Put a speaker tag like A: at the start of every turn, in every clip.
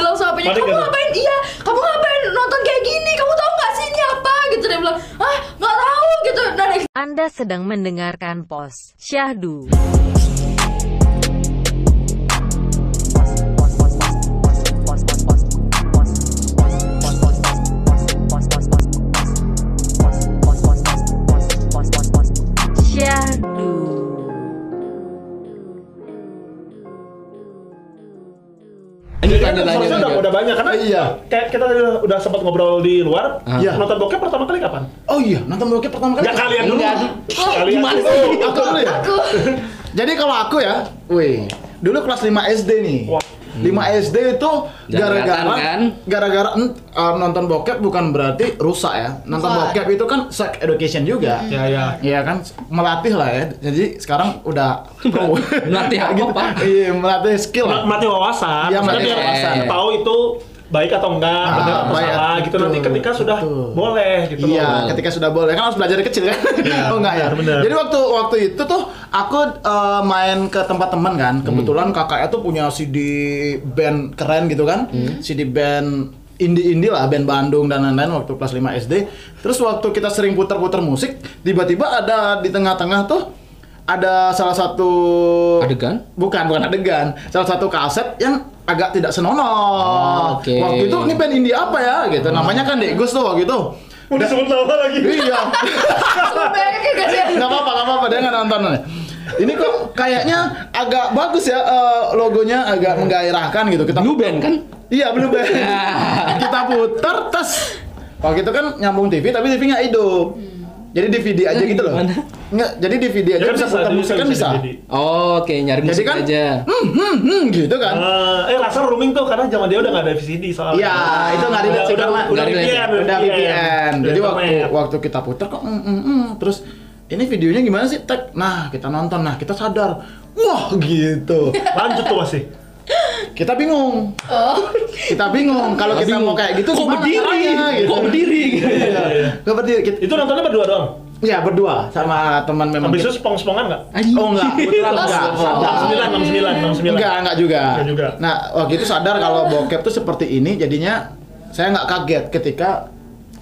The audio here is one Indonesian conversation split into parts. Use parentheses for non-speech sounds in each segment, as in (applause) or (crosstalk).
A: Panik
B: kamu
A: kan?
B: ngapain iya kamu ngapain nonton kayak gini kamu tahu nggak sih ini apa gitu dia bilang ah nggak tahu gitu nah next
C: Anda sedang mendengarkan pos Syahdu. Syahdu.
A: Ini
D: Ini
A: kan
D: tanda tanya
A: source-nya udah,
D: juga.
A: udah banyak karena
D: Iya.
A: kayak kita tadi udah, udah sempat ngobrol di luar.
D: Ah.
A: Iya. Nonton bokep pertama kali kapan?
D: Oh iya, nonton bokep pertama kali.
A: Ya kalian dulu.
D: Enggak, di-
A: Kalian
D: Gimana
A: dulu.
D: sih?
A: Aku dulu ya.
B: aku
D: Jadi kalau aku ya, wih, dulu kelas 5 SD nih.
A: Wah.
D: 5 SD itu gara-gara
E: Jangan kan?
D: gara-gara mm, uh, nonton bokep bukan berarti rusak ya. Nonton
B: Bukan.
D: bokep itu kan sex education juga.
A: Ya ya.
D: Iya kan melatih lah ya. Jadi sekarang udah pro.
E: Melatih apa, Pak?
D: Iya, melatih skill.
A: Ma-
D: lah.
A: Mati wawasan.
D: Iya,
A: Maksudnya
D: mati
A: biar
E: wawasan.
A: tahu itu baik atau enggak,
D: Ah,
A: benar atau
D: baik,
A: salah gitu nanti
D: betul,
A: ketika sudah
D: betul.
A: boleh gitu
D: Iya,
A: loh.
D: ketika sudah boleh kan harus belajar dari kecil kan? (laughs) oh enggak ya.
A: benar, benar.
D: Jadi waktu waktu itu tuh aku eh, main ke tempat teman kan.
A: Hmm.
D: Kebetulan kakaknya tuh punya CD band keren gitu kan.
E: Hmm.
D: CD band indie-indie lah, band Bandung dan lain-lain waktu kelas 5 SD. Terus waktu kita sering putar-putar musik, tiba-tiba ada di tengah-tengah tuh ada salah satu
E: Adegan?
D: Bukan, bukan adegan. Salah satu kaset yang agak tidak senonoh.
E: Oh, oke. Hmm.
D: Waktu itu ini band indie apa ya gitu. Namanya kan Degus tuh waktu itu.
A: Udah sebut nama lagi.
D: Iya.
B: sumpah kayak gak
D: (laughs)
B: sih
D: Enggak apa-apa, enggak apa-apa dia enggak nonton. Ini kok kayaknya agak bagus ya eh, logonya agak menggairahkan gitu. Kita
E: Blue Band kan? Ya.
D: Iya, Blue
E: (laughs)
D: Band. Kita puter tes. Waktu itu kan nyambung TV tapi TV-nya hidup. Jadi DVD aja gitu loh.
E: gimana?
D: Enggak, jadi DVD aja
A: Ya
D: bisa putar musik kan bisa.
A: jadi.
E: Oh, oke nyari
D: Jadi
E: musik
D: kan,
E: aja.
D: hmm, hmm, hmm, gitu kan.
A: Eh, eh rasa rooming tuh karena zaman dia udah nggak ada VCD soalnya.
D: Iya, itu nggak
A: udah
D: dilihat sih
A: udah
D: karena
A: udah
E: nggak
A: VPN,
E: dilihat.
D: udah VPN. Jadi
A: Udah
D: waktu
A: internet.
D: waktu kita putar kok mm, mm, mm. terus ini videonya gimana sih? Tek. Nah, kita nonton. Nah, kita sadar. Wah, gitu.
A: lanjut tuh masih.
D: Kita bingung.
B: oh
D: Kita bingung kalau kita mau kayak gitu
E: kok
D: gimana
E: berdiri?
D: caranya, gitu.
E: Kok
D: (laughs)
E: berdiri?
A: Iya, iya.
D: Gak berdiri. Kita,
A: Itu nontonnya berdua doang.
D: ya berdua sama teman memang.
A: Habis itu
D: kita.
A: spong-spongan nggak?
E: Anjing.
D: Oh enggak, kebetulan enggak. Sadar.
A: 69, 69, 69.
D: Oh. Enggak, enggak juga.
A: Enggak juga.
D: Nah, waktu itu sadar kalau bokep tuh seperti ini, jadinya saya nggak kaget ketika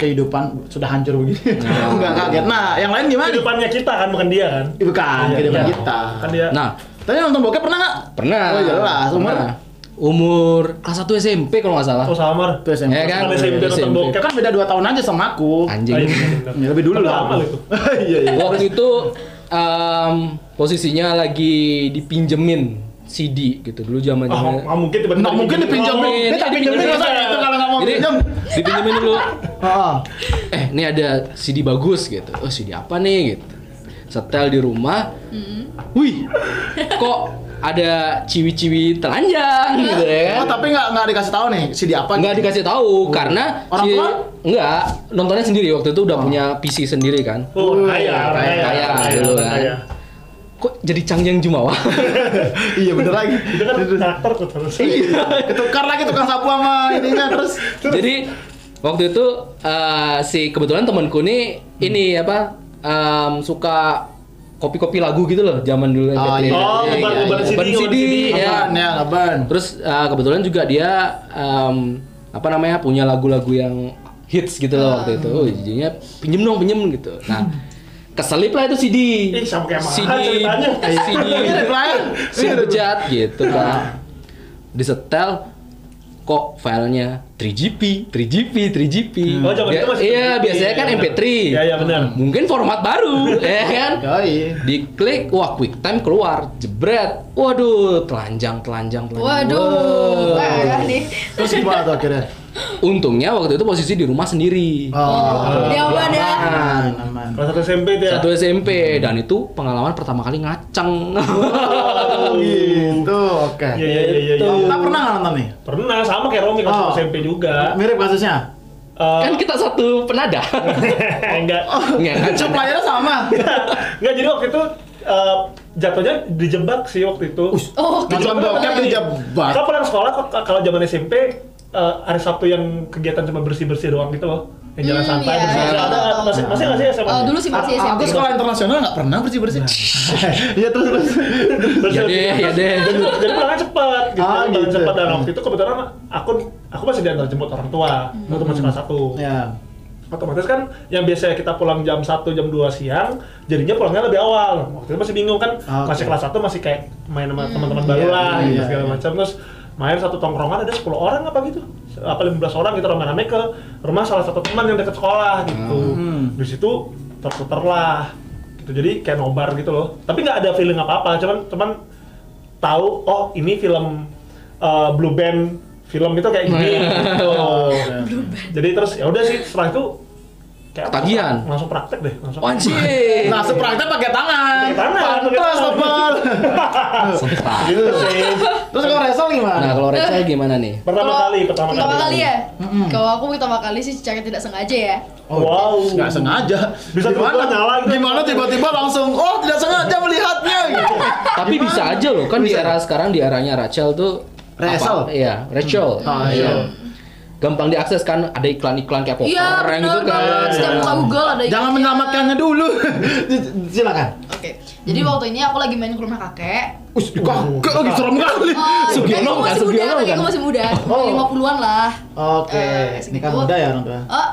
D: kehidupan sudah
A: (laughs)
D: hancur begini. (laughs) Enggak kaget. Nah, yang lain gimana?
A: Kehidupannya kita kan bukan dia kan.
D: Bukan,
A: Iya,
D: kehidupan
A: iya.
D: kita.
A: Kan dia.
E: Nah,
D: Tadi nonton bokep pernah nggak?
E: pernah.
D: Oh jelas, umur
E: Pernah. Umur kelas 1 SMP kalau nggak salah.
A: Oh Samar.
D: Itu SMP.
E: Ya kan?
A: Kan SMP nonton
E: SMP.
A: bokep.
D: kan beda 2 tahun aja sama aku.
A: Ah,
E: Anjing.
A: iya, bener.
D: Ya, lebih dulu
A: Tapi
D: lah.
A: lama loh itu.
D: (laughs) Iya, iya.
E: Waktu itu em, posisinya lagi dipinjemin CD gitu dulu zaman
A: Ah,
E: zaman.
A: nggak mungkin tiba-tiba.
D: Nggak mungkin
A: dipinjemin. Oh,
D: dipinjemin. Dia tak pinjemin masa gitu kalau Oh, nggak mau
E: Jadi,
D: pinjam.
E: dipinjemin dulu.
D: Heeh.
E: Eh, ini ada CD bagus gitu. Oh, CD apa nih gitu. Setel di rumah. Wih. Kok ada ciwi-ciwi telanjang gitu ya kan?
D: Oh, tapi nggak nggak dikasih tahu nih CD apa?
E: Nggak dikasih tahu karena
D: Oh. Orang Oh. tua?
E: Enggak, nontonnya sendiri waktu itu udah punya PC sendiri kan.
A: Oh, kaya,
D: Kaya,
E: kaya
A: kaya,
E: dulu kan.
A: kaya.
E: Kok jadi Cangjang
D: (laughs)
E: Jumawa?
D: (laughs) Iya bener lagi.
A: Itu kan karakter tuh terus.
D: Iya. Ketukar lagi tukang sapu sama ininya terus.
E: jadi waktu itu eh, si kebetulan temanku nih
D: Hmm.
E: ini apa em, suka kopi-kopi lagu gitu loh zaman dulu MP3.
D: iya.
A: Oh,
D: Iya,
A: bukan
D: iya,
A: bukan
D: iya.
A: CD,
E: Ban
A: bukan
E: CD,
A: CD.
E: iya.
D: Ngaban ya, ngaban.
E: Terus eh, kebetulan juga dia em, apa namanya punya lagu-lagu yang hits gitu loh waktu itu. Oh, jadinya pinjem dong, pinjem gitu. Nah, keselip lah itu CD.
A: Ih, sama kayak mahal
E: CD, (laughs)
A: ceritanya.
E: CD,
D: Mirip lah ya.
E: CD bejat gitu
A: Nah.
E: kan. Disetel kok filenya 3GP, 3GP, 3GP.
A: Oh, zaman
E: Ya-
A: itu masih
E: Iya,
A: 3GP.
E: biasanya kan MP3.
A: Iya, iya, benar.
E: Mungkin format baru, (laughs) ya kan?
D: Yoi.
E: Diklik, wah quick time keluar, jebret. Waduh, telanjang, telanjang, telanjang.
B: waduh
E: Wow.
B: parah nih
D: Terus gimana tuh akhirnya?
E: Untungnya waktu itu posisi di rumah sendiri.
D: Oh.
B: dia aman ya
D: Aman, aman.
A: Kelas satu SMP dia.
E: Satu SMP dan itu pengalaman pertama kali ngaceng.
D: Oh, gitu, oke.
A: Iya, iya, iya, iya, iya.
D: Kita pernah nggak nonton nih?
A: Pernah sama kayak Romi kelas satu
D: Oh.
A: SMP juga.
D: Mirip kasusnya?
A: Eh, (laughs)
E: kan kita satu penada.
A: Enggak. (laughs)
E: Nggak ngaceng.
D: Cuma layarnya sama.
A: Enggak jadi waktu itu eh, jatuhnya dijebak sih waktu itu.
B: oh
D: Nonton bokep di jebat.
A: Kita pulang sekolah kok- kalau zaman SMP eh, hari Sabtu yang kegiatan cuma bersih-bersih doang gitu loh. Yang jalan santai
B: iya,
A: bersih.
B: iya,
A: Ada
B: tahu, tahu.
A: masih masih nggak sih SMA?
B: Oh, dulu sih masih
D: A- Aku
B: SMP.
D: sekolah internasional nggak pernah bersih bersih. Iya terus terus.
A: Terus
E: Ya
A: jadi-
E: deh, ya deh.
A: Jadi jadi pulangnya cepat gitu.
D: Ah,
A: Pulangnya
D: gitu.
A: cepat dan waktu itu kebetulan aku aku masih diantar jemput orang tua.
B: Hmm.
A: Waktu masih kelas 1.
D: Ya.
A: otomatis kan yang biasanya kita pulang jam 1 jam 2 siang jadinya pulangnya lebih awal waktu itu masih bingung kan
D: Ah, oke.
A: masih kelas 1 masih kayak main sama teman-teman baru
D: Iya,
A: lah
D: iya,
A: gitu,
D: iya,
A: segala
D: iya.
A: macam terus main satu tongkrongan ada 10 orang apa gitu apa 15 orang gitu rame-rame ke rumah salah satu teman yang deket sekolah gitu
D: Hmm.
A: di situ terputer lah gitu jadi kayak nobar gitu loh tapi nggak ada feeling apa-apa cuman cuman tahu oh ini film eh, Blue Band film itu kayak
E: (laughs)
A: gini gitu. Jadi terus ya udah sih setelah itu kayak
E: Ketagihan. Oh,
A: langsung, langsung praktek deh, langsung.
E: Anjir.
D: Nah, sepraktek pakai tangan.
A: Pakai tangan, pakai
D: Pantas
A: tangan.
D: tebal.
A: Gitu
B: (laughs)
A: sih.
D: Terus kalau Resel
E: Nah,
D: gimana?
E: kalau Rachel gimana nih?
A: Pertama
B: Kalau-
A: kali, pertama kali.
B: Pertama kali ya? Kalau aku pertama kali sih secara tidak sengaja ya.
A: Wow.
D: Oh, Nggak sengaja.
A: Bisa tiba-tiba nyala gitu.
D: Gimana tiba-tiba langsung, oh tidak sengaja melihatnya gitu.
E: Tapi bisa aja loh, kan di
D: Bisa.
E: era sekarang di eranya Rachel tuh apa?
D: Rachel.
E: Iya, Rachel.
D: Ah, iya.
E: Gampang diakses kan ada iklan-iklan kayak
B: Iya,
E: orang
B: benar
E: gitu kan.
B: banget. Setiap buka Google ada
D: Jangan
B: iklannya.
D: menyelamatkannya dulu. (laughs) Silakan.
B: Oke. Jadi waktu ini aku lagi main ke rumah kakek.
D: Us, kakek lagi serem kali.
B: Oh,
E: Sugiono
B: kakek aku
E: bukan,
B: masih muda,
E: Sugiono
B: kakek
E: bukan?
B: aku masih muda.
D: Oh.
B: Lima puluhan lah.
D: Oke,
B: Eh,
D: ini
B: segitu.
D: kan muda ya orang tua.
B: Oh,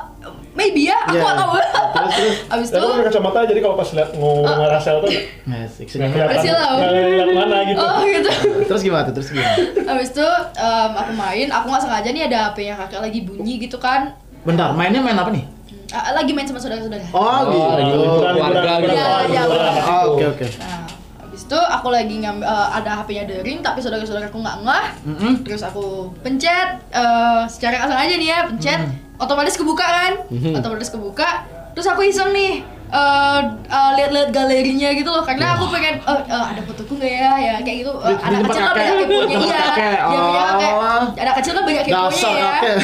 B: maybe ya, aku
D: Iya.
B: nggak tahu.
D: Terus, terus.
B: Abis itu,
A: Dan
B: Oh.
A: aku pakai kacamata jadi kalau pas lihat ngomong sama Rasel tuh
D: Asik,
A: nggak
D: senyum.
A: kelihatan,
B: Rasel tahu.
A: nggak kelihatan mana gitu.
B: oh gitu.
D: Terus gimana tuh? Terus gimana?
B: Abis itu em, aku main, aku nggak sengaja nih ada HP-nya kakek lagi bunyi gitu kan.
D: Bentar, mainnya main apa nih?
B: Ah, Lagi main sama saudara-saudara.
D: Oh,
E: Oh, lagi
D: gitu.
E: liburan. keluarga gitu.
B: Iya, iya.
D: Oh, Oke, oke.
B: Nah, abis itu aku lagi ngam, eh, ada HP-nya Dering tapi saudara-saudara aku nggak ngeh.
D: Mm-mm.
B: Terus aku pencet eh, secara nggak sengaja nih ya, pencet
D: Hmm.
B: otomatis kebuka kan?
E: Mhm.
B: Otomatis kebuka. Terus aku iseng nih eh, eh, lihat-lihat galerinya gitu loh karena aku pengen eh, eh, ada fotoku nggak ya ya kayak gitu Eh,
D: Di- di
B: anak
D: tempat
B: kecil kan
D: kakek.
B: banyak keponya
D: Tempat
B: iya
D: kakek.
B: Dia punya kakek.
D: Oh.
B: anak kecil kan banyak keponya
D: Dasar
B: ya
A: (laughs)
D: kakek.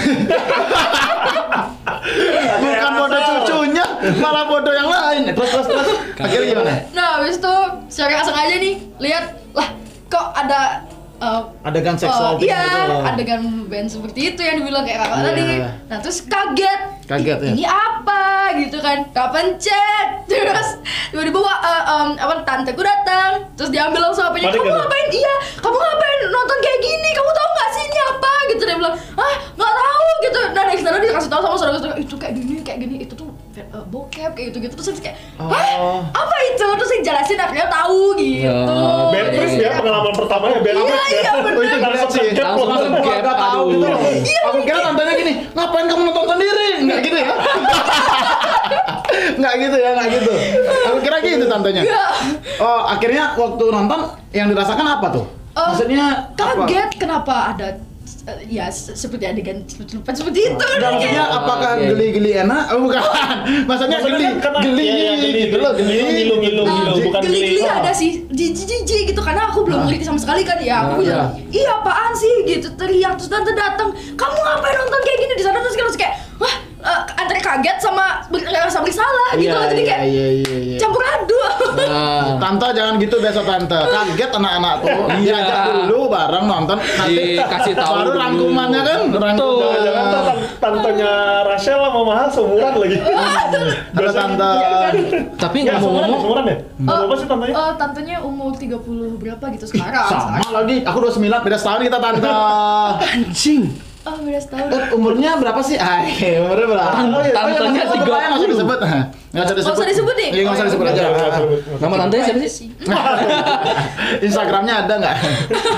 D: Bukan bodoh cucunya, malah bodoh yang lain. Terus terus terus. Akhirnya gimana?
B: Nah, habis itu secara nggak sengaja nih lihat lah kok ada eh,
D: Adegan seksual
B: eh,
D: gitu
B: iya,
D: gitu loh.
B: adegan band seperti itu yang dibilang kayak kakak
D: Iya.
B: tadi. Nah, terus kaget.
D: Kaget,
B: "Ih,
D: ya?
B: Ini apa gitu kan? Kapan chat? (laughs) Terus tiba-tiba wah, eh, em, apa tanteku datang, terus diambil langsung hpnya
A: Panik
B: Kamu
A: nggak tuh?
B: ngapain? Iya, kamu ngapain nonton kayak gini? Kamu tahu nggak sih ini apa? Gitu dia bilang, "Ah, nggak tahu." Gitu. Nah, dari sana dikasih tahu sama saudara-saudara, "Itu kayak gini, kayak gini, itu tuh eh, bokep kayak gitu-gitu." Terus habis kayak, "Hah?
D: Oh.
B: Apa itu?" Terus yang jelasin akhirnya tahu gitu.
E: Oh,
A: Ben Pris ya pengalaman pertamanya Ben
B: Iya,
A: Pris ya.
B: iya, bener.
A: Itu langsung
D: Langsung
A: kaget loh.
E: langsung gap,
D: Keluarga tahu
E: aduh.
D: gitu loh. Aku kira tantenya gini, ngapain kamu nonton sendiri? Enggak gitu ya? Enggak gitu ya, enggak gitu. Aku kira gitu tantenya.
B: Enggak.
D: Oh, akhirnya waktu nonton yang dirasakan apa tuh?
B: Eh,
D: Maksudnya apa?
B: kaget kenapa ada eh, ya se- seperti adegan celupan seperti itu
D: Nggak, maksudnya
E: Oh,
D: apakah
E: oke.
D: geli-geli enak? Oh bukan. (laughs) Maksudnya
A: Maksudnya
D: geli,
A: kan kena-
D: geli,
A: iya, iya, geli,
D: gitu loh, geli, gitu.
A: ngilu, ngilu, ngilu,
B: Ah,
A: ngilu, bukan geli.
B: geli-geli
A: Oh.
B: ada sih jijik jijik gitu karena aku belum ngerti sama sekali kan ya aku
E: Ah,
B: bilang iya apaan sih gitu teriak terus tante datang kamu ngapain nonton kayak gini di sana terus kita kayak wah eh, antara kaget sama ber- rasa bersalah gitu loh jadi kayak
D: iya, iya, iya.
B: campur aduk
E: Nah,
D: Tante jangan gitu besok (laughs) tante. Kaget anak-anak tuh.
E: Iya.
D: Diajak dulu bareng nonton nanti
E: Dikasih tahu
D: Baru
E: dulu.
D: rangkumannya kan.
E: Betul.
A: Jangan-jangan tuh Nah, tan- tantenya Rasel sama Mahal seumuran lagi.
B: Iya. (laughs)
D: Ada tante.
E: tapi
A: Nggak seumuran, ya,
E: ngomong-ngomong
A: seumuran ya? Berapa sih tantenya?
B: Eh, tantenya umur 30 berapa gitu sekarang
D: Sama lagi. Aku 29 beda setahun kita tante.
E: anjing.
B: oh beda setahun
D: (laughs) Eh, umurnya berapa sih? Ay, umurnya berapa?
E: Tan-
D: Oh, iya,
E: tantenya
D: oh, iya, nggak usah
E: 30.
D: disebut. Hah, Nggak usah disebut.
B: Nggak usah disebut nih?
D: Iya, nggak usah
B: Oh, iya,
D: disebut
A: Nggak,
D: aja.
A: nggak, nggak, nggak, nggak.
E: Nama tantenya siapa sih?
B: sih
D: (laughs) Instagramnya ada nggak?
B: (laughs)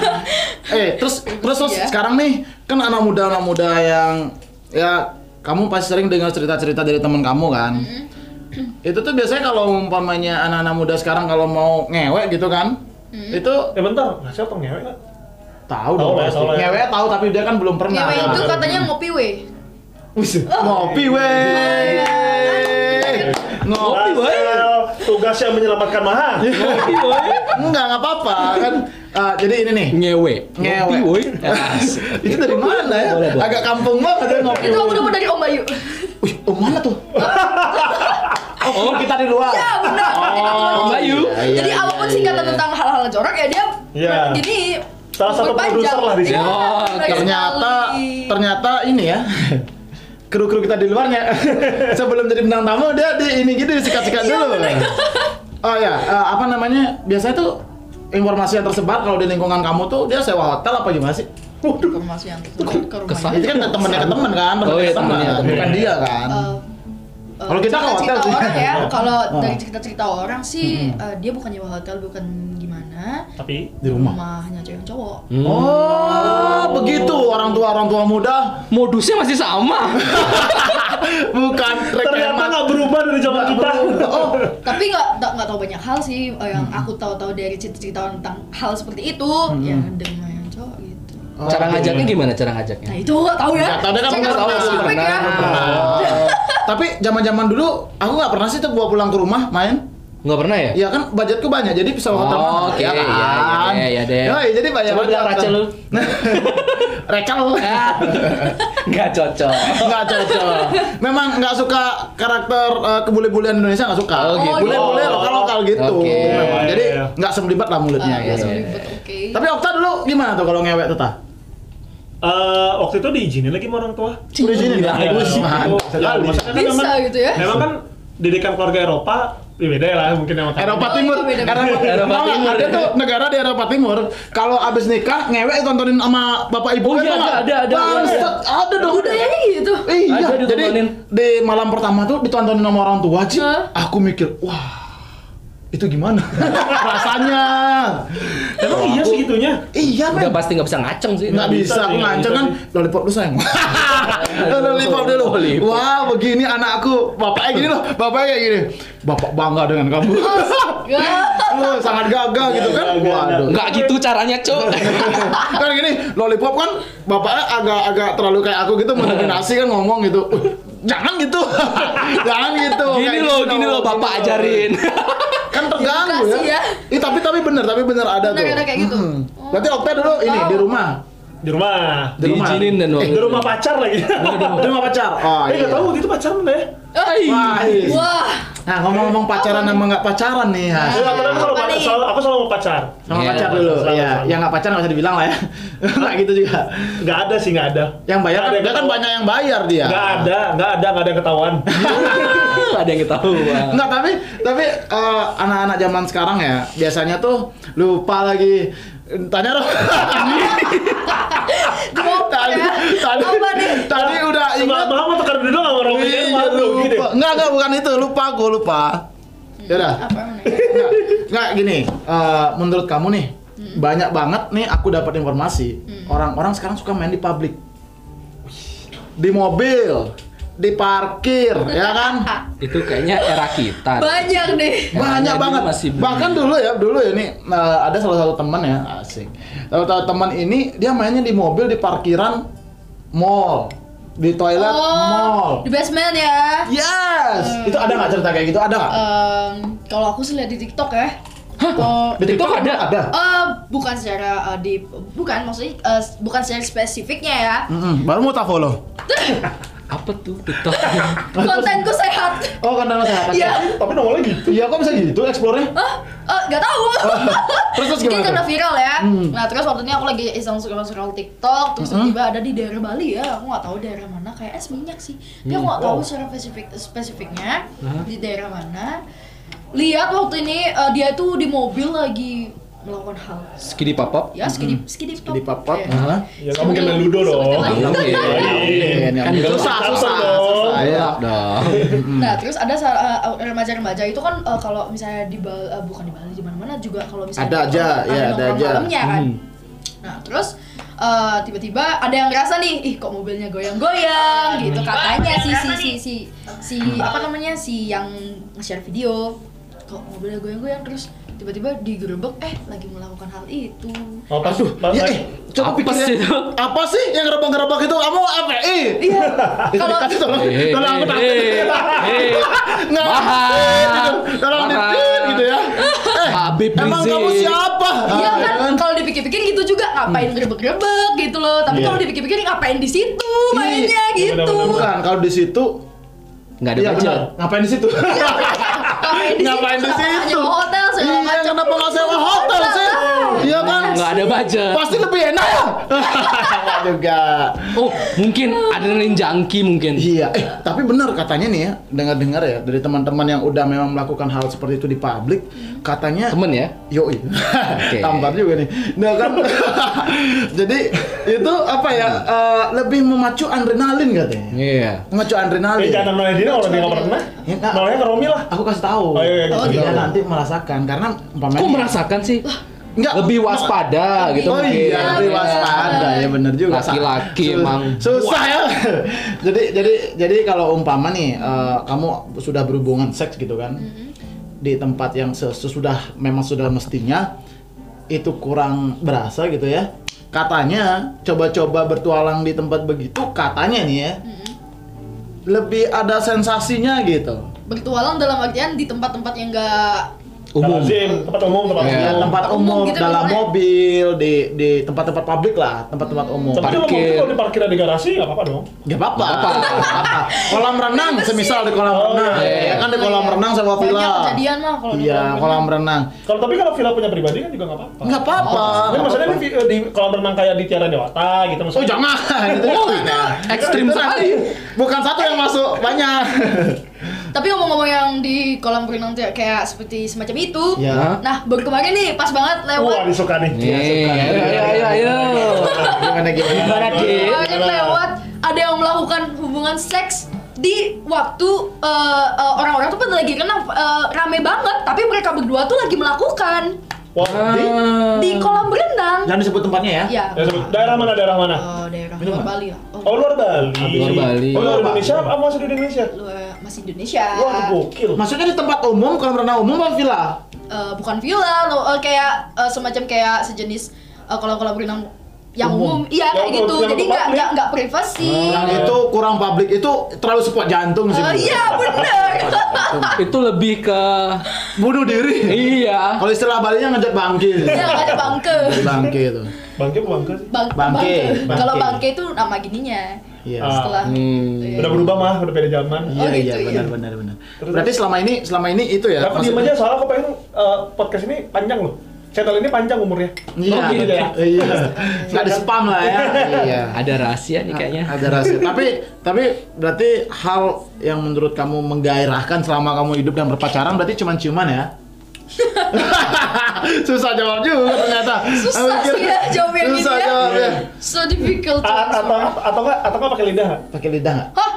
D: eh terus terus, terus
B: Iya.
D: sekarang nih kan anak muda anak muda yang ya kamu pasti sering dengar cerita cerita dari teman kamu kan. itu tuh biasanya kalau umpamanya anak-anak muda sekarang kalau mau ngewek gitu kan, itu
A: Eh bentar, Rasel tuh ngewek nggak? Tahu
D: tahu dong
A: lah,
D: pasti.
A: tahu lah. ya.
D: Ngewek tahu tapi dia kan belum pernah.
B: Ngewe Iya, itu Oh. katanya ngopi weh.
D: Wis, ngopi weh.
B: Iya.
D: Ngopi weh.
A: Rasel, tugasnya menyelamatkan Mahal.
E: Ngopi, woy.
D: Enggak, enggak apa-apa kan. eh, jadi ini nih.
E: Ngewe. Ya.
D: Ngewe.
E: Ngopi, woy.
D: (laughs) itu dari mana ya?
E: Eh, Boleh, boleh.
D: Agak kampung banget ya ngopi.
B: Itu aku dapat dari Om Bayu.
D: Wih, oh mana
E: (laughs)
D: tuh? oh, kita di luar.
B: Ya benar.
E: Oh, Bayu.
D: Iya,
B: Jadi apapun singkatan tentang hal-hal jorok ya dia
A: Iya.
B: jadi
A: Salah satu
B: berpanjang.
A: produser lah di sini.
B: Iya,
E: Oh,
B: benar
D: Iya. Ternyata
B: sekali.
D: ternyata ini ya. (laughs) kru-kru kita di luarnya (laughs) sebelum jadi bintang tamu dia di ini gitu disikat-sikat
B: Iya,
D: dulu (laughs) oh ya eh, apa namanya biasanya tuh informasi yang tersebar kalau di lingkungan kamu tuh dia sewa hotel apa gimana sih
B: informasi yang tersebar ke rumah
E: Kesan.
D: itu kan temennya ke temen kan temennya
E: Ah, iya. Oh, iya,
D: ke temen,
E: temennya, temennya.
D: bukan dia kan
B: Eh, eh,
D: Kalau kita ke
B: cerita-cerita
D: hotel sih.
B: orang ya,
D: Oh.
B: kalau
D: Oh.
B: dari cerita-cerita orang sih eh, dia bukan nyewa hotel, bukan gimana.
A: Tapi
D: di rumah
B: Rumahnya cewek cowok.
E: Hmm.
D: oh begitu orang tua orang tua muda
E: Modusnya masih (laughs) sama.
D: bukan rek
A: ternyata
D: emak.
A: nggak berubah dari zaman kita.
B: Oh, tapi nggak nggak nggak tahu banyak hal sih eh, yang
D: Hmm.
B: aku tahu-tahu dari cerita-cerita tentang hal seperti itu. Ya dengan yang cowok gitu.
D: Oh,
E: Cara ngajaknya gimana cara
B: Nah
E: ngajaknya?
B: itu nggak tahu ya.
D: Nggak tahu, dia kan
B: Saya
D: belum
B: nggak
D: pernah.
B: tahu, ya.
E: Belum pernah.
D: Oh. tapi zaman zaman dulu aku nggak pernah sih tuh bawa pulang ke rumah main
E: Nggak pernah ya?
D: Iya kan budgetku banyak jadi bisa hotel
E: Oh,
D: mahal,
E: oke, iya, iya deh, iya deh.
D: Yoi, jadi banyak
E: Coba bilang Rachel lu.
D: (laughs) Rachel.
E: Ah, Nggak cocok.
D: Enggak cocok. Memang nggak suka karakter eh, kebule-bulean Indonesia nggak suka.
E: Oh, gitu.
D: Bule-bule
A: Oh.
D: lokal-lokal gitu.
E: Oke. iya,
D: Memang. Jadi
A: Iya, iya.
D: nggak semelibat lah mulutnya
B: Ah, ya,
D: gitu.
B: sorry, but oke.
D: Tapi Okta dulu gimana tuh kalau ngewek tuh tah?
A: Eh, waktu itu diizinin lagi sama orang tua.
D: Udah izinin ya?
A: Iya, waktu itu. Ya,
D: Wih, mantap sekali.
A: maksudnya kan
B: Bisa
A: memang-
B: gitu ya?
A: Memang kan didikan keluarga Eropa ya beda lah mungkin sama kita.
D: Eropa
B: Oh,
D: Timur,
B: itu beda-beda.
D: Eropa,
E: Eropa
D: Tau nggak,
E: Timur.
D: Ada tuh negara di Eropa Timur. Kalau abis nikah ngewek tontonin sama bapak ibu.
E: Oh, iya,
D: tau nggak?
E: ada, ada, ada.
D: Bangsat, ada dong.
B: Budayanya gitu.
D: Iya,
E: Ada
D: jadi
E: ditontonin.
D: di malam pertama tuh ditontonin sama orang tua Ci.
B: Hah?
D: Aku mikir, wah itu gimana (laughs) rasanya?
A: Emang iya segitunya.
D: Iya
E: Udah
D: men,
E: pasti Iya, nggak bisa ngaceng sih.
D: nggak
A: bisa
D: bisa, aku
A: sih, nggak
D: nganceng
A: bisa
D: kan lollipop lu
E: (laughs)
D: sayang. lollipop dulu.
E: Lollipop.
D: Wah begini anakku, bapaknya gini loh, bapaknya kayak gini. Bapak bangga dengan kamu.
B: (laughs)
D: Iya.
B: Gak.
D: Lu Eh, sangat gagah gitu
A: Gagah,
D: kan?
A: gagah.
D: Waduh.
E: Nggak gitu caranya, Cok.
D: kan gini lollipop kan bapaknya agak-agak terlalu kayak aku gitu mendominasi kan ngomong gitu "Uh, jangan gitu (laughs) jangan gitu
E: Gini
D: Kayak
E: loh,
D: gitu
E: gini loh bapak
D: Gini loh.
E: ajarin.
D: kan terganggu
B: Edukasi
D: ya,
B: ya.
D: Ih, tapi tapi bener tapi bener ada
B: Bener,
D: tuh
B: ada kayak gitu.
D: Mm-mm. berarti Okta dulu ini di rumah
A: Di rumah.
D: Di rumah.
E: Diizinin dan
A: Eh, di rumah pacar lagi.
D: di rumah pacar oh,
A: Eh nggak tahu waktu itu pacaran ya.
D: Wah, iya.
B: Wah.
D: nah ngomong-ngomong pacaran sama nggak pacaran nih ya
A: Aku selalu
B: Apa nih?
A: aku selalu mau pacar.
D: sama
E: Iya,
D: pacar dulu
A: sama,
D: ya
A: sama.
D: yang nggak pacaran nggak usah dibilang lah ya (laughs) nggak gitu juga
A: Nggak ada sih nggak ada.
D: yang bayar kan, dia kan banyak Ya. yang bayar dia
A: Nggak ada, nggak ada, nggak ada yang
D: (laughs)
A: ketahuan.
E: Ada yang ketahuan.
D: Enggak, tapi tapi eh, anak-anak zaman sekarang ya biasanya tuh lupa lagi tanya dong. tadi, tadi,
B: ya. Apa nih?
D: tadi udah
A: Nggak
D: ingat.
A: mau mau tukar dulu sama orang
D: Iya,
A: lain malu gitu.
D: lupa. Enggak, enggak bukan itu, lupa gua lupa. Ya udah.
B: Apa emang ya?
D: Enggak, enggak gini. eh, menurut kamu nih, banyak banget nih aku dapat informasi orang-orang sekarang suka main di publik. Di mobil, di parkir, ya
B: (laughs)
D: kan?
E: Itu kayaknya era kita.
B: Banyak deh.
D: banyak
E: Makanya dulu
D: banget
E: masih belum.
D: bahkan dulu ya dulu ya nih eh, ada salah satu teman ya asik salah satu teman ini dia mainnya di mobil di parkiran mall di toilet mall Iya.
B: Oh, di basement ya.
D: yes itu ada nggak cerita kayak gitu ada nggak
B: Eh, Em, kalau aku sih lihat di TikTok ya. Kalau-
D: di TikTok
E: TikTok
D: ada
E: ada?
D: ada
B: Eh, bukan secara eh, di bukan maksudnya eh, bukan secara spesifiknya ya.
D: Mm-mm, baru mau tak follow
E: Apa tuh TikTok?
D: Nah,
B: Kontenku sehat.
D: oh kan dalam sehat
B: Iya.
A: Tapi nongolnya gitu.
D: iya kok bisa gitu explore-nya
B: Hah? Eh, nggak tahu.
D: (laughs) terus terus
B: Mungkin
D: gimana
B: karena
D: tuh?
B: viral ya.
D: Hmm.
B: Nah terus waktu ini aku lagi iseng scroll-scroll TikTok, terus tiba ada di daerah Bali ya. Aku nggak tahu daerah mana. Kayak es minyak sih. Tapi aku
D: Hmm.
B: nggak tahu
D: Oh.
B: secara spesifik spesifiknya di daerah mana. Lihat waktu ini eh, dia tuh di mobil lagi melakukan hal
E: Skidi papap.
D: Hmm.
B: ya skidip skidip top
D: di papap
B: Ya.
D: heeh.
A: Ya nggak mungkin main ludo
B: Seperti
A: dong.
B: tadi.
E: Nggak mungkin.
A: Iya.
D: Susah,
E: Kan gelap.
D: susah,
A: Gelap
D: susah,
A: dong.
D: susah, ya.
E: Gelap dong.
D: Hmm.
B: Nah, terus ada sa- uh, remaja-remaja itu kan uh, kalau misalnya di Bal- uh, bukan di Bali di mana-mana juga kalau misalnya
D: Ada aja, iya, ada
B: nongkrong
D: aja. Hmm.
B: Malamnya kan. Nah, terus uh, tiba-tiba ada yang ngerasa nih, ih kok mobilnya
D: Hmm.
B: goyang-goyang gitu katanya si si si si si apa namanya si yang nge-share video kok mobilnya goyang-goyang terus tiba-tiba digerebek eh lagi melakukan hal itu.
A: Oh, pas,
D: Aduh,
A: pas,
D: ya,
A: pas-
D: eh, coba
E: Apa
D: pikir
E: sih itu?
D: apa sih yang ngerebak-ngerebak itu? Kamu apa? Eh,
B: Iya.
D: (laughs) kalau
B: Kalau-
D: kasih tolong,
E: Hei,
D: tolong Iya, aku takut.
E: hei, hei.
D: Nggak,
E: Bahas.
D: eh, gitu. (laughs) tolong
E: Bahas.
D: dipit gitu ya. Eh,
E: Habib
D: emang
E: Rizik.
D: kamu siapa?
B: Iya
D: Ah,
B: kan, kalau dipikir-pikir gitu juga
D: Hmm.
B: ngapain grebek-grebek gitu loh. Tapi
A: Iya.
B: kalau dipikir-pikir ngapain di situ mainnya
D: Iya,
B: gitu.
A: benar-benar.
D: Bukan, kalau di situ,
E: Nggak ada
D: iya
E: budget.
D: benar. Ngapain di situ? kan?
B: Ngapain di situ?
D: Ngapain di
B: Kenapa nggak
D: situ?
B: nyewa hotel segala
D: Iya,
B: macam?
D: kenapa nggak sewa hotel sih? Iya kan?
E: nggak ada budget.
D: Pasti lebih enak ya? Nggak juga.
E: Oh, mungkin adrenalin junkie mungkin.
D: Iya, eh tapi benar katanya nih ya, dengar-dengar ya dari teman-teman yang udah memang melakukan hal seperti itu di publik, katanya
E: Temen ya.
D: Yoi, (laughs) tampar juga nih. Nah kan, (laughs) jadi itu apa ya?
E: Hmm.
D: eh, lebih memacu adrenalin katanya.
E: Iya.
D: Memacu
A: Eh,
D: adrenalin.
A: jangan nolain diri kalau dia nggak pernah.
D: Ya, nggak.
A: Nolain ke Romi lah.
D: Aku kasih tahu.
A: Oh, iya, iya,
D: Dia
A: kasih tahu.
D: nanti merasakan karena umpamanya.
E: Kok merasakan sih?
D: Iya. Nggak.
E: lebih waspada gitu
D: Oh
E: mungkin.
D: iya, lebih waspada ya bener juga.
E: Laki-laki
D: Sus-
E: emang
D: susah ya. (laughs) jadi jadi jadi kalau umpama nih eh, kamu sudah berhubungan seks gitu kan
B: Mm-hmm.
D: di tempat yang sesudah memang sudah mestinya itu kurang berasa gitu ya. Katanya coba-coba bertualang di tempat begitu katanya nih ya.
B: Mm-hmm.
D: Lebih ada sensasinya gitu.
B: Bertualang dalam artian di tempat-tempat yang enggak
E: umum.
A: Lazim, tempat umum, tempat
E: Iya.
D: Ya,
A: umum.
D: tempat
B: Umum
D: umum,
B: gitu
D: dalam
B: misalnya.
D: mobil, di di tempat-tempat publik lah, tempat-tempat
B: Mm-hmm.
D: umum.
A: Tapi kalau
E: Parkir.
A: mobil kalau diparkiran di garasi nggak apa-apa dong.
D: Gak apa-apa.
E: Nggak apa-apa.
D: Nggak apa-apa. kolam renang, semisal di
B: Oh,
D: kolam renang.
A: iya,
E: iya.
D: Ya kan di kolam renang sama
B: Banyak
D: villa.
B: kejadian mah kalau di
D: Iya,
B: kolam renang.
D: kolam renang.
A: Kalau tapi kalau villa punya pribadi kan juga nggak apa-apa.
D: Nggak apa-apa.
A: Tapi
D: nggak
A: maksudnya di,
D: apa-apa.
A: di kolam renang kayak di Tiara Dewata gitu maksudnya.
D: Oh jangan, itu
E: Oh, ekstrim
D: Itu nanti
E: sekali.
D: Bukan satu yang masuk, banyak.
B: Tapi ngomong-ngomong yang di kolam renang tuh ya, kayak seperti semacam itu.
D: Ya.
E: Hah?
B: Nah, baru kemarin nih pas banget
A: Wah,
B: lewat.
A: disuka nih.
D: Iya,
A: Iya,
E: Nih, ayo, ayo, ayo, ayo.
D: Gimana gimana?
E: iya, Gimana, Ki?
D: iya,
B: Kemarin lewat ada yang melakukan hubungan seks di waktu eh, eh, orang-orang tuh pada lagi renang eh, rame banget, tapi mereka berdua tuh lagi melakukan
A: Wah, di
B: di kolam renang.
D: Jangan disebut tempatnya Hmm. ya.
B: Ya.
A: Ya, sebut- daerah mana daerah mana?
B: Eh, daerah
D: Minum,
B: luar
D: Pak?
B: Bali lah.
A: Oh luar Bali.
E: Luar Bali.
A: Oh luar
D: Ah, Luar Bali.
A: Indonesia apa apa masih di Indonesia?
B: luar eh, masih Indonesia.
A: Wah gokil.
D: Maksudnya di tempat umum, kolam renang umum apa villa?
B: Eh, bukan villa, lo- eh, kayak eh, semacam kayak sejenis eh, kolam-kolam renang yang umum, iya kayak
A: Yang
B: gitu.
A: untuk- yang
B: Jadi
A: untuk
B: nggak
A: publik.
B: nggak nggak privasi.
D: Oh, Yang itu kurang publik itu terlalu support jantung sih.
B: Eh,
D: menurut
B: Iya
D: gue. (laughs)
B: bener.
E: Itu lebih ke
D: Bunuh diri.
E: iya.
D: Kalau istilah Balinya ngejek bangkit.
B: Iya nggak ada bangke.
D: Jadi bangke itu.
A: Bangke bukan bangke sih.
B: Bang,
D: Bangke,
B: bangke. Kalau
D: bangke.
B: bangke itu nama gininya.
D: Iya.
A: Ah,
B: Setelah
E: Hmm.
A: Udah berubah mah, udah beda zaman.
B: Oh,
D: Iya iya
B: gitu,
D: benar
B: iya.
D: benar benar. Berarti selama ini selama ini itu ya.
A: Tapi diem aja soalnya aku pengen eh, podcast ini panjang loh. Channel ini panjang umurnya.
D: Iya.
E: Oh, gitu ya?
D: (laughs) Iya. Enggak di spam lah ya. Iya.
E: Ada rahasia nih kayaknya.
D: Ada rahasia. tapi tapi berarti hal yang menurut kamu menggairahkan selama kamu hidup dan berpacaran berarti cuma ciuman ya? (laughs) Susah jawab juga ternyata.
B: Susah
D: Aku
B: sih
D: kira-
B: ya jawabnya gitu
D: Susah
B: ya.
D: jawabnya. Ah,
B: so difficult. to
A: A-
B: answer.
A: atau atau nggak atau nggak pakai lidah? nggak?
D: Pakai lidah nggak?
B: Hah?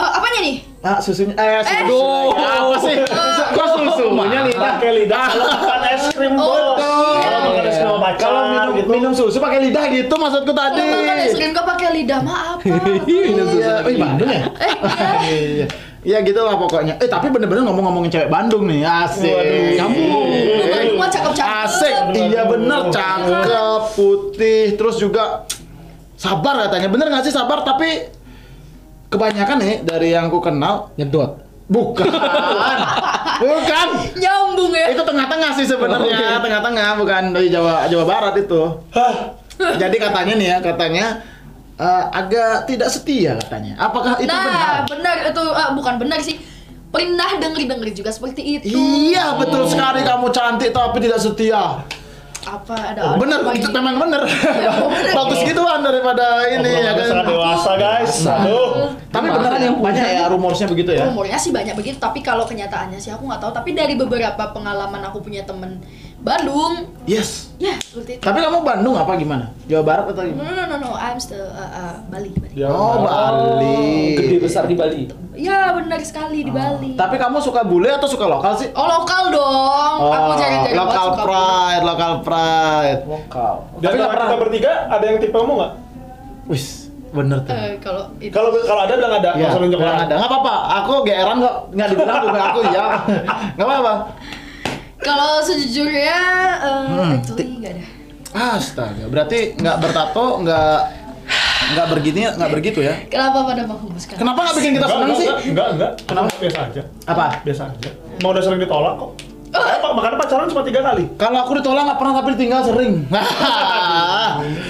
B: Eh, apanya nih?
D: Ah, susunya eh, susu.
E: Aduh.
D: Ya, apa sih? Susu- Kok susunya lidah?
A: Pakai lidah. Kalau makan es krim
B: Oh,
A: bolos. Kalau makan es krim sama pacar
D: Iya. Kalau minum,
A: gitu.
D: minum susu pakai lidah gitu maksudku tadi.
B: Kalau makan es krim kau pakai lidah mah apa?
D: (laughs)
E: Minum susu.
D: Iya, eh, Bandung ya?
B: Eh, iya.
D: (laughs) Iya, iya. Iya gitu lah pokoknya. Eh tapi bener-bener ngomong-ngomongin cewek Bandung nih, asik.
A: Waduh, nyambung.
B: Lu Bandung mah cakep-cakep.
D: Asik, iya bener, cakep, putih, terus juga sabar katanya. Bener nggak sih sabar? Tapi kebanyakan nih dari yang ku kenal
E: Nyedot.
D: bukan,
A: (laughs)
D: bukan.
B: Nyambung ya.
D: Itu tengah-tengah sih
E: Oke.
A: Oh,
D: sebenarnya,
A: iya.
D: tengah-tengah bukan dari Jawa Jawa Barat itu.
A: Hah,
D: (laughs) Jadi katanya nih ya, katanya eh, agak tidak setia katanya. Apakah itu
B: nah,
D: benar?
B: benar itu eh, bukan benar sih. Pernah denger-denger juga seperti itu.
D: Iya betul sekali kamu cantik tapi tidak setia.
B: Apa ada apa gitu?
D: Bener,
B: lagi?
D: itu memang
B: (laughs)
D: bener.
B: bener.
D: Bagus gituan daripada ini ya
A: obrolan sangat
D: kan.
A: dewasa guys. Aduh.
D: Tapi
B: Iya.
E: Makan
D: bener
E: yang
D: yang banyak ya rumorsnya begitu ya.
B: Rumornya sih banyak begitu, tapi kalau kenyataannya sih aku nggak tahu. Tapi dari beberapa pengalaman aku punya temen Bandung,
D: Yes.
B: ya seperti itu.
D: Tapi kamu Bandung apa gimana? Jawa Barat atau
B: No no
D: gimana?
B: no no, no. I'm still uh, uh, Bali. Bali.
A: Dia
D: Oh Bali.
E: Oh, Gede besar di Bali.
B: Ya benar sekali di Bali.
D: Oh. Tapi kamu suka bule atau suka lokal sih? Oh,
B: Oh lokal dong. Oh, aku jarang-jarang banget
D: lokal
B: suka
D: pride, lokal pride.
E: Lokal.
A: Di
D: Tapi nggak
A: antara kita
D: pernah.
A: bertiga ada yang tipe kamu nggak?
D: Wis, bener
B: Bali. Eh, kalau itu.
A: Kalau kalau ada bilang ada,
D: Ya,
A: langsung nunjuk
D: kurang
A: orang.
D: ada. Nggak apa-apa. Aku geran kok. Nggak dibilang bukan aku ya. Nggak apa-apa.
B: Kalau sejujurnya eh
D: Hmm.
B: actually nggak ada.
D: Astaga. Berarti nggak bertato, nggak nggak begini, nggak begitu ya.
B: Kenapa pada menghembuskan?
D: Kenapa nggak bikin kita
A: Enggak,
D: senang
A: enggak,
D: sih?
A: enggak, enggak, enggak.
D: Kenapa?
A: Biasa aja.
D: Apa?
A: Biasa aja. Mau udah sering ditolak kok. Kenapa? Makanya pacaran cuma tiga kali.
D: Kalau aku ditolak nggak pernah tapi ditinggal sering.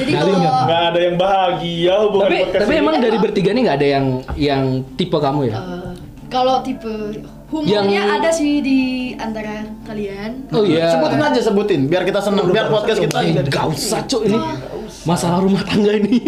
B: Jadi
D: ya?
B: kalau
A: Nggak ada yang bahagia hubungan
E: Tapi
A: podcast
E: tapi
A: ini.
E: emang dari bertiga nih nggak ada yang yang tipe kamu ya?
B: eh, kalau tipe humornya
E: Yang-
B: ada sih di antara kalian.
E: Oh (laughs) iya.
D: Sebutin aja sebutin biar kita seneng, biar podcast kita
E: Eh,
D: jadi-
E: Gak usah cok ini masalah rumah tangga
D: (laughs)
E: ini.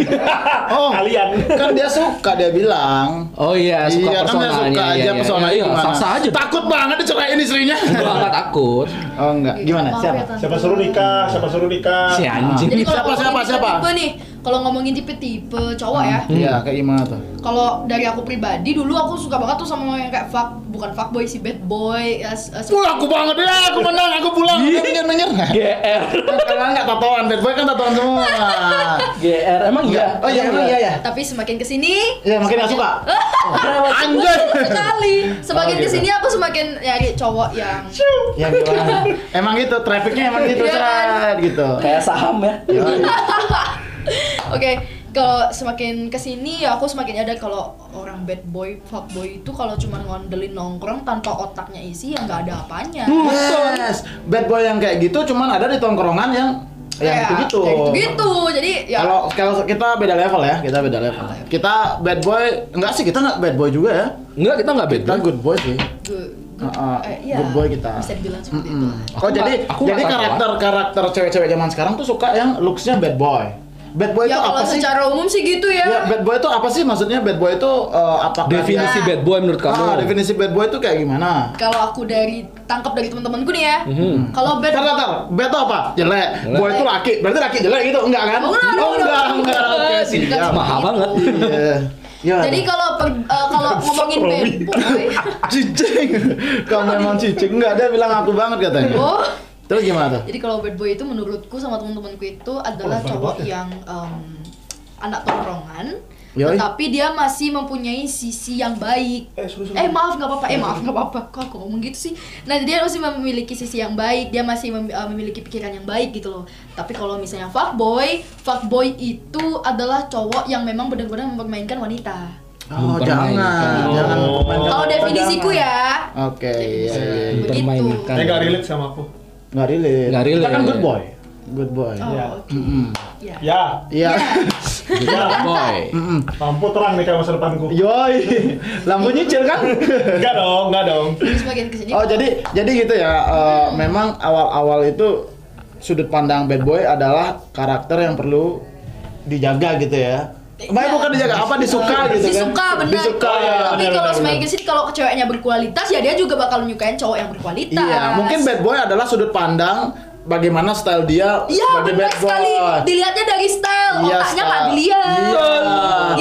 D: Oh,
A: Ah, Kalian.
D: kan dia suka dia bilang.
E: oh iya suka
D: iya, kan dia
E: personalnya.
D: suka
E: iya,
D: aja
E: iya,
D: personalnya
E: iya,
D: gimana.
E: Sah aja.
D: Takut banget dicerain
E: (laughs)
D: istrinya.
E: Gua nggak takut.
D: oh enggak, gimana?
B: Maaf ya,
D: Siapa?
B: Tante.
A: Siapa suruh nikah? Siapa suruh nikah?
E: Si anjing.
B: Jadi kalau
D: Siapa,
B: ngomongin
D: siapa, siapa?
B: Tipe-tipe nih, kalau ngomongin tipe-tipe cowok ya.
D: Iya, kayak gimana tuh?
B: Kalau dari aku pribadi dulu aku suka banget tuh sama yang kayak fuck bukan fuckboy sih bad boy. eh, s- eh,
D: Wah, aku banget ya, aku menang, aku pulang. Nyer nyer.
E: GR.
D: Karena enggak tatoan, bad boy kan tatoan semua.
E: GR emang iya.
D: Oh iya, emang iya ya.
B: tapi semakin kesini
D: Iya, makin gak suka. Anjay.
B: sekali semakin
E: Oh,
D: iya.
E: gitu.
B: kesini aku semakin nyari cowok yang
D: Ya gimana? Emang gitu, trafficnya emang gitu,
B: Iya, kan?
D: Sat, gitu.
E: Kayak saham ya.
D: Iya.
B: oke kalau semakin kesini ya aku semakin ada kalau orang bad boy fuckboy itu kalau cuma ngondelin nongkrong tanpa otaknya isi ya nggak ada apanya
D: Hmm. Yes, bad boy yang kayak gitu cuman ada di tongkrongan yang yang
B: Kayak-
D: gitu
B: Iya. kayak
D: gitu.
B: gitu-gitu. jadi ya
D: Kalau kalau kita beda level ya, kita beda level. Kita bad boy, enggak sih kita enggak bad boy juga ya.
E: Enggak kita nggak beda.
D: Kita good boy sih.
B: good, eh, iya,
D: Uh, uh, good boy kita.
B: bisa dibilang seperti itu
D: Mm-mm.
B: lah.
E: Aku
D: Oh jadi
E: nggak- aku
D: jadi
E: nggak tahu,
D: karakter karakter cewek-cewek zaman sekarang tuh suka yang looksnya bad boy. Bad boy
B: ya
D: Oh, itu apa
B: kalau
D: sih?
B: secara umum sih gitu
D: Ya,
B: ya,
D: bad boy itu apa sih? Maksudnya bad boy itu eh, apakah
E: Definisi
B: Nah.
E: bad boy menurut
D: dia-
E: kamu?
D: Ah, definisi bad boy itu kayak gimana?
B: kalau aku dari tangkap dari teman-temanku nih ya kalau bad boy
D: Bentar, Mhm. bentar. Bad itu apa? Jelek. Boy itu laki. Berarti laki jelek gitu, enggak kan?
B: Oh, enggak,
D: Oh, enggak,
B: enggak,
D: enggak. Oke,
B: enggak.
D: siap.
B: Enggak,
E: Mahal
B: Gitu.
E: banget.
D: Iya. Ya.
B: Jadi kalau per- eh,
D: (laughs)
B: kalau ngomongin bad
A: Robi.
B: boy,
D: Ah, cicing. Kamu memang cicing. Enggak, dia bilang aku banget katanya.
B: oh,
D: Terus gimana tuh?
B: jadi kalau bad boy itu menurutku sama teman-temanku itu adalah
A: Oh,
B: cowok
A: banget
B: yang em, anak tongkrongan,
D: Yoi.
B: tetapi dia masih mempunyai sisi yang baik.
A: Eh, suruh, suruh.
B: Eh maaf nggak apa-apa, eh maaf nggak apa-apa. Kok aku ngomong gitu sih? Nah jadi dia masih memiliki sisi yang baik, dia masih mem- eh, memiliki pikiran yang baik gitu loh. Tapi kalau misalnya fuckboy, fuckboy itu adalah cowok yang memang benar-benar mempermainkan wanita.
D: Oh, jangan.
E: Mempermainkan.
D: Jangan mempermainkan
B: Kalau
D: wanita,
B: definisiku
D: jangan.
B: ya,
D: Oke, iya. iya.
B: Begitu.
E: Dipermainkan.
A: Saya nggak relate sama aku.
D: Nggak relate.
E: Nggak relate.
D: Kita kan good boy. Good boy.
B: Oh,
A: Iya.
B: oke.
D: Mm-mm.
B: Ya.
A: Ya,
D: Iya.
E: Good boy.
D: Mm-mm.
A: lampu terang nih kayak masa depanku.
D: Yoi. Lampu nyicil kan?
A: Enggak dong, enggak dong.
B: Terus makin kesini.
D: Oh, jadi jadi gitu ya. eh, memang awal-awal itu sudut pandang bad boy adalah karakter yang perlu dijaga gitu ya. Baik bukan dijaga, apa disuka
B: Iya.
D: gitu kan?
B: disuka Iya, benar. Iya.
D: Disuka ya.
B: Tapi
A: benar,
B: kalau
A: benar,
B: semakin
A: benar.
B: kesini kalau ceweknya berkualitas ya dia juga bakal nyukain cowok yang berkualitas.
D: Iya, mungkin bad boy adalah sudut pandang bagaimana style dia
B: Iya
D: sebagai
B: benar
D: bad boy. Iya,
B: sekali. Dilihatnya dari style, otaknya nggak
D: style.
B: dilihat.
D: Iya.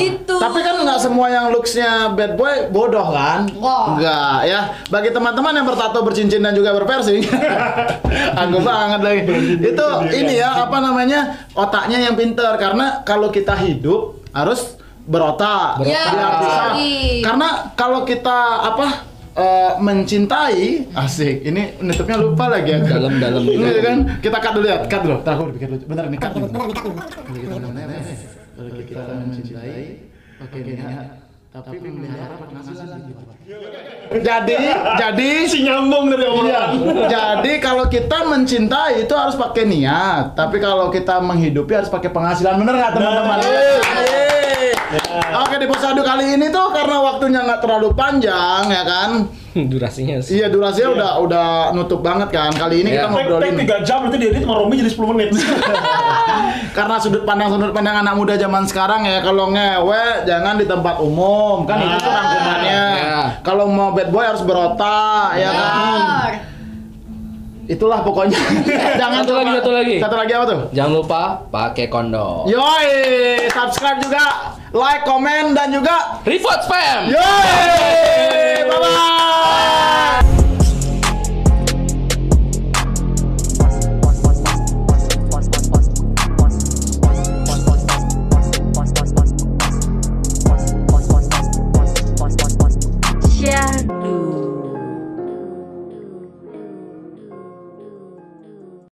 B: Gitu.
D: Tapi kan nggak semua yang looksnya bad boy bodoh kan?
B: Nggak.
D: Nggak, ya. Bagi teman-teman yang bertato, bercincin dan juga berpersing, (laughs) aku banget lagi. Itu ini ya apa namanya otaknya yang pinter karena kalau kita hidup harus berotak.
B: Iya,
D: Biar
B: betul
D: bisa-
B: sekali.
D: Karena kalau kita apa? eh, mencintai asik ini nutupnya lupa lagi ya
E: Dalam, dalam,
D: Iya
E: dalam.
D: kan kita cut dulu ya cut dulu Ntar aku berpikir lucu bener nih cut nih kalau kita mencintai pakainya tapi memelihara penghasilan jadi jadi
A: Si nyambung dari
D: iya,
A: omongan.
D: jadi kalau kita mencintai itu harus pakai niat tapi kalau kita menghidupi harus pakai penghasilan bener nggak teman-teman
E: Iya.
D: Yeay. Oke di posadu kali ini tuh karena waktunya nggak terlalu panjang ya kan
E: Durasinya sih.
D: Iya durasinya udah udah nutup banget kan kali ini
A: Tek
D: kita
E: Iya.
A: tek
D: ngobrolin
A: tiga jam nanti dia edit sama Romi jadi 10 menit.
D: karena sudut pandang sudut pandang anak muda zaman sekarang ya kalau ngewe jangan di tempat umum kan
E: Iya.
D: itu tuh rangkumannya
E: Ya.
D: kalau mau bad boy harus berotak ya
E: Iya.
D: kan
B: Benar.
D: itulah pokoknya jangan
E: Satu lagi,
D: coba-
E: satu lagi.
D: satu lagi apa tuh
E: Jangan lupa pakai kondom.
D: yoi subscribe juga like komen dan juga
E: Report spam.
D: yoi bye bye